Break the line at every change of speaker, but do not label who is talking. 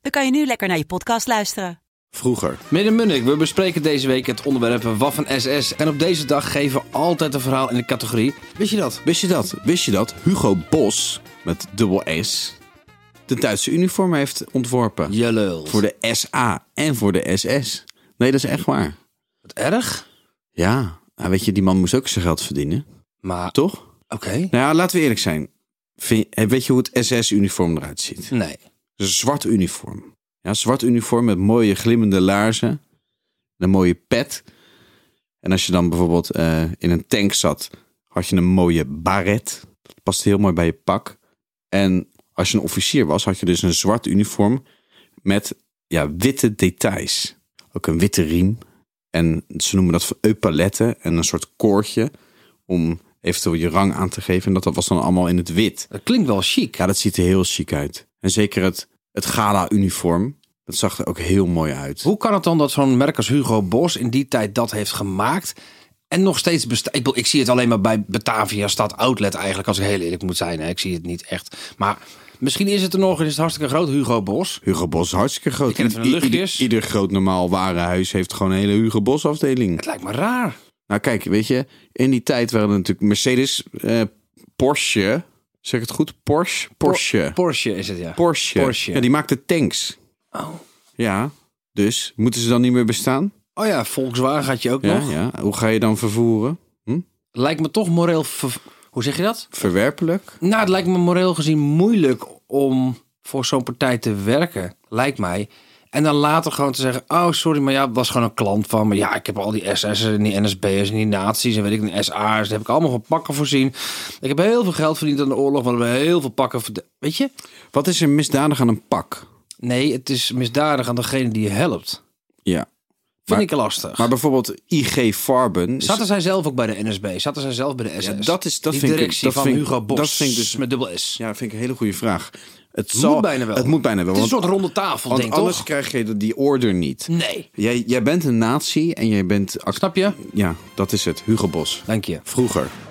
dan kan je nu lekker naar je podcast luisteren.
Vroeger.
Midden Munnik, we bespreken deze week het onderwerp Waffen-SS. En op deze dag geven we altijd een verhaal in de categorie.
Wist je dat? Wist je dat? Wist je dat? Hugo Bos, met dubbel S, de Duitse uniform heeft ontworpen.
Je lul.
Voor de SA en voor de SS. Nee, dat is echt waar.
Wat erg.
Ja, nou, weet je, die man moest ook zijn geld verdienen.
Maar, oké.
Toch? Nou ja, laten we eerlijk zijn. Vind je- weet je hoe het SS-uniform eruit ziet?
Nee.
Het is een zwart uniform. Ja, zwart uniform met mooie glimmende laarzen. En een mooie pet. En als je dan bijvoorbeeld eh, in een tank zat, had je een mooie baret. Dat past heel mooi bij je pak. En als je een officier was, had je dus een zwart uniform met ja, witte details. Ook een witte riem. En ze noemen dat eupaletten en een soort koordje om eventueel je rang aan te geven. En dat, dat was dan allemaal in het wit.
Dat klinkt wel chic.
Ja, dat ziet er heel chic uit. En zeker het, het gala-uniform. Dat zag er ook heel mooi uit.
Hoe kan het dan dat zo'n merk als Hugo Bos in die tijd dat heeft gemaakt en nog steeds bestaat? Ik, bedoel, ik zie het alleen maar bij Batavia Stad Outlet eigenlijk, als ik heel eerlijk moet zijn. Hè. Ik zie het niet echt. Maar misschien is het er nog en is het hartstikke groot, Hugo Bos.
Hugo Bos is hartstikke groot.
Ik ken het van de
I- ieder-
luchtjes.
Ieder, groot normaal warenhuis heeft gewoon een hele Hugo Bos afdeling.
Het lijkt me raar.
Nou kijk, weet je, in die tijd waren er natuurlijk Mercedes, eh, Porsche. Zeg ik het goed? Porsche? Porsche.
Porsche is het, ja.
Porsche.
Porsche.
Ja, die maakte tanks.
Oh.
Ja, dus moeten ze dan niet meer bestaan?
Oh ja, Volkswagen had je ook
Ja,
nog.
ja. Hoe ga je dan vervoeren?
Lijkt me toch moreel... ver- Hoe zeg je dat?
Verwerpelijk?
Nou, het lijkt me moreel gezien moeilijk om voor zo'n partij te werken, lijkt mij. En dan later gewoon te zeggen, oh sorry, maar ja, het was gewoon een klant van me. Ja, ik heb al die SS'ers en die NSB'ers en die nazi's en weet ik, de SA's. Daar heb ik allemaal van pakken voorzien. Ik heb heel veel geld verdiend aan de oorlog, want we hebben heel veel pakken verd- Weet je?
Wat is er misdadig aan een pak?
Nee, het is misdadig aan degene die je helpt.
Ja.
Vind
Maar-
ik lastig.
Maar bijvoorbeeld IG Farben. is-
Zaten zij zelf ook bij de NSB? Zaten zij zelf bij de SS?
Ja, dat is- dat
die
vind ik-
directie
dat
van
vind ik-
Hugo Bos.
dat vind ik dus-
met dubbel S.
Ja, vind ik een hele goede vraag. Het,
Moet
zal,
bijna wel.
Het moet bijna wel.
Het is een
want-
soort ronde tafel,
Want
denk
anders
toch?
krijg je die order niet.
Nee.
Jij, jij bent een natie en jij bent... act-
Snap je?
Ja, dat is het. Hugo Bos.
Dank je.
Vroeger.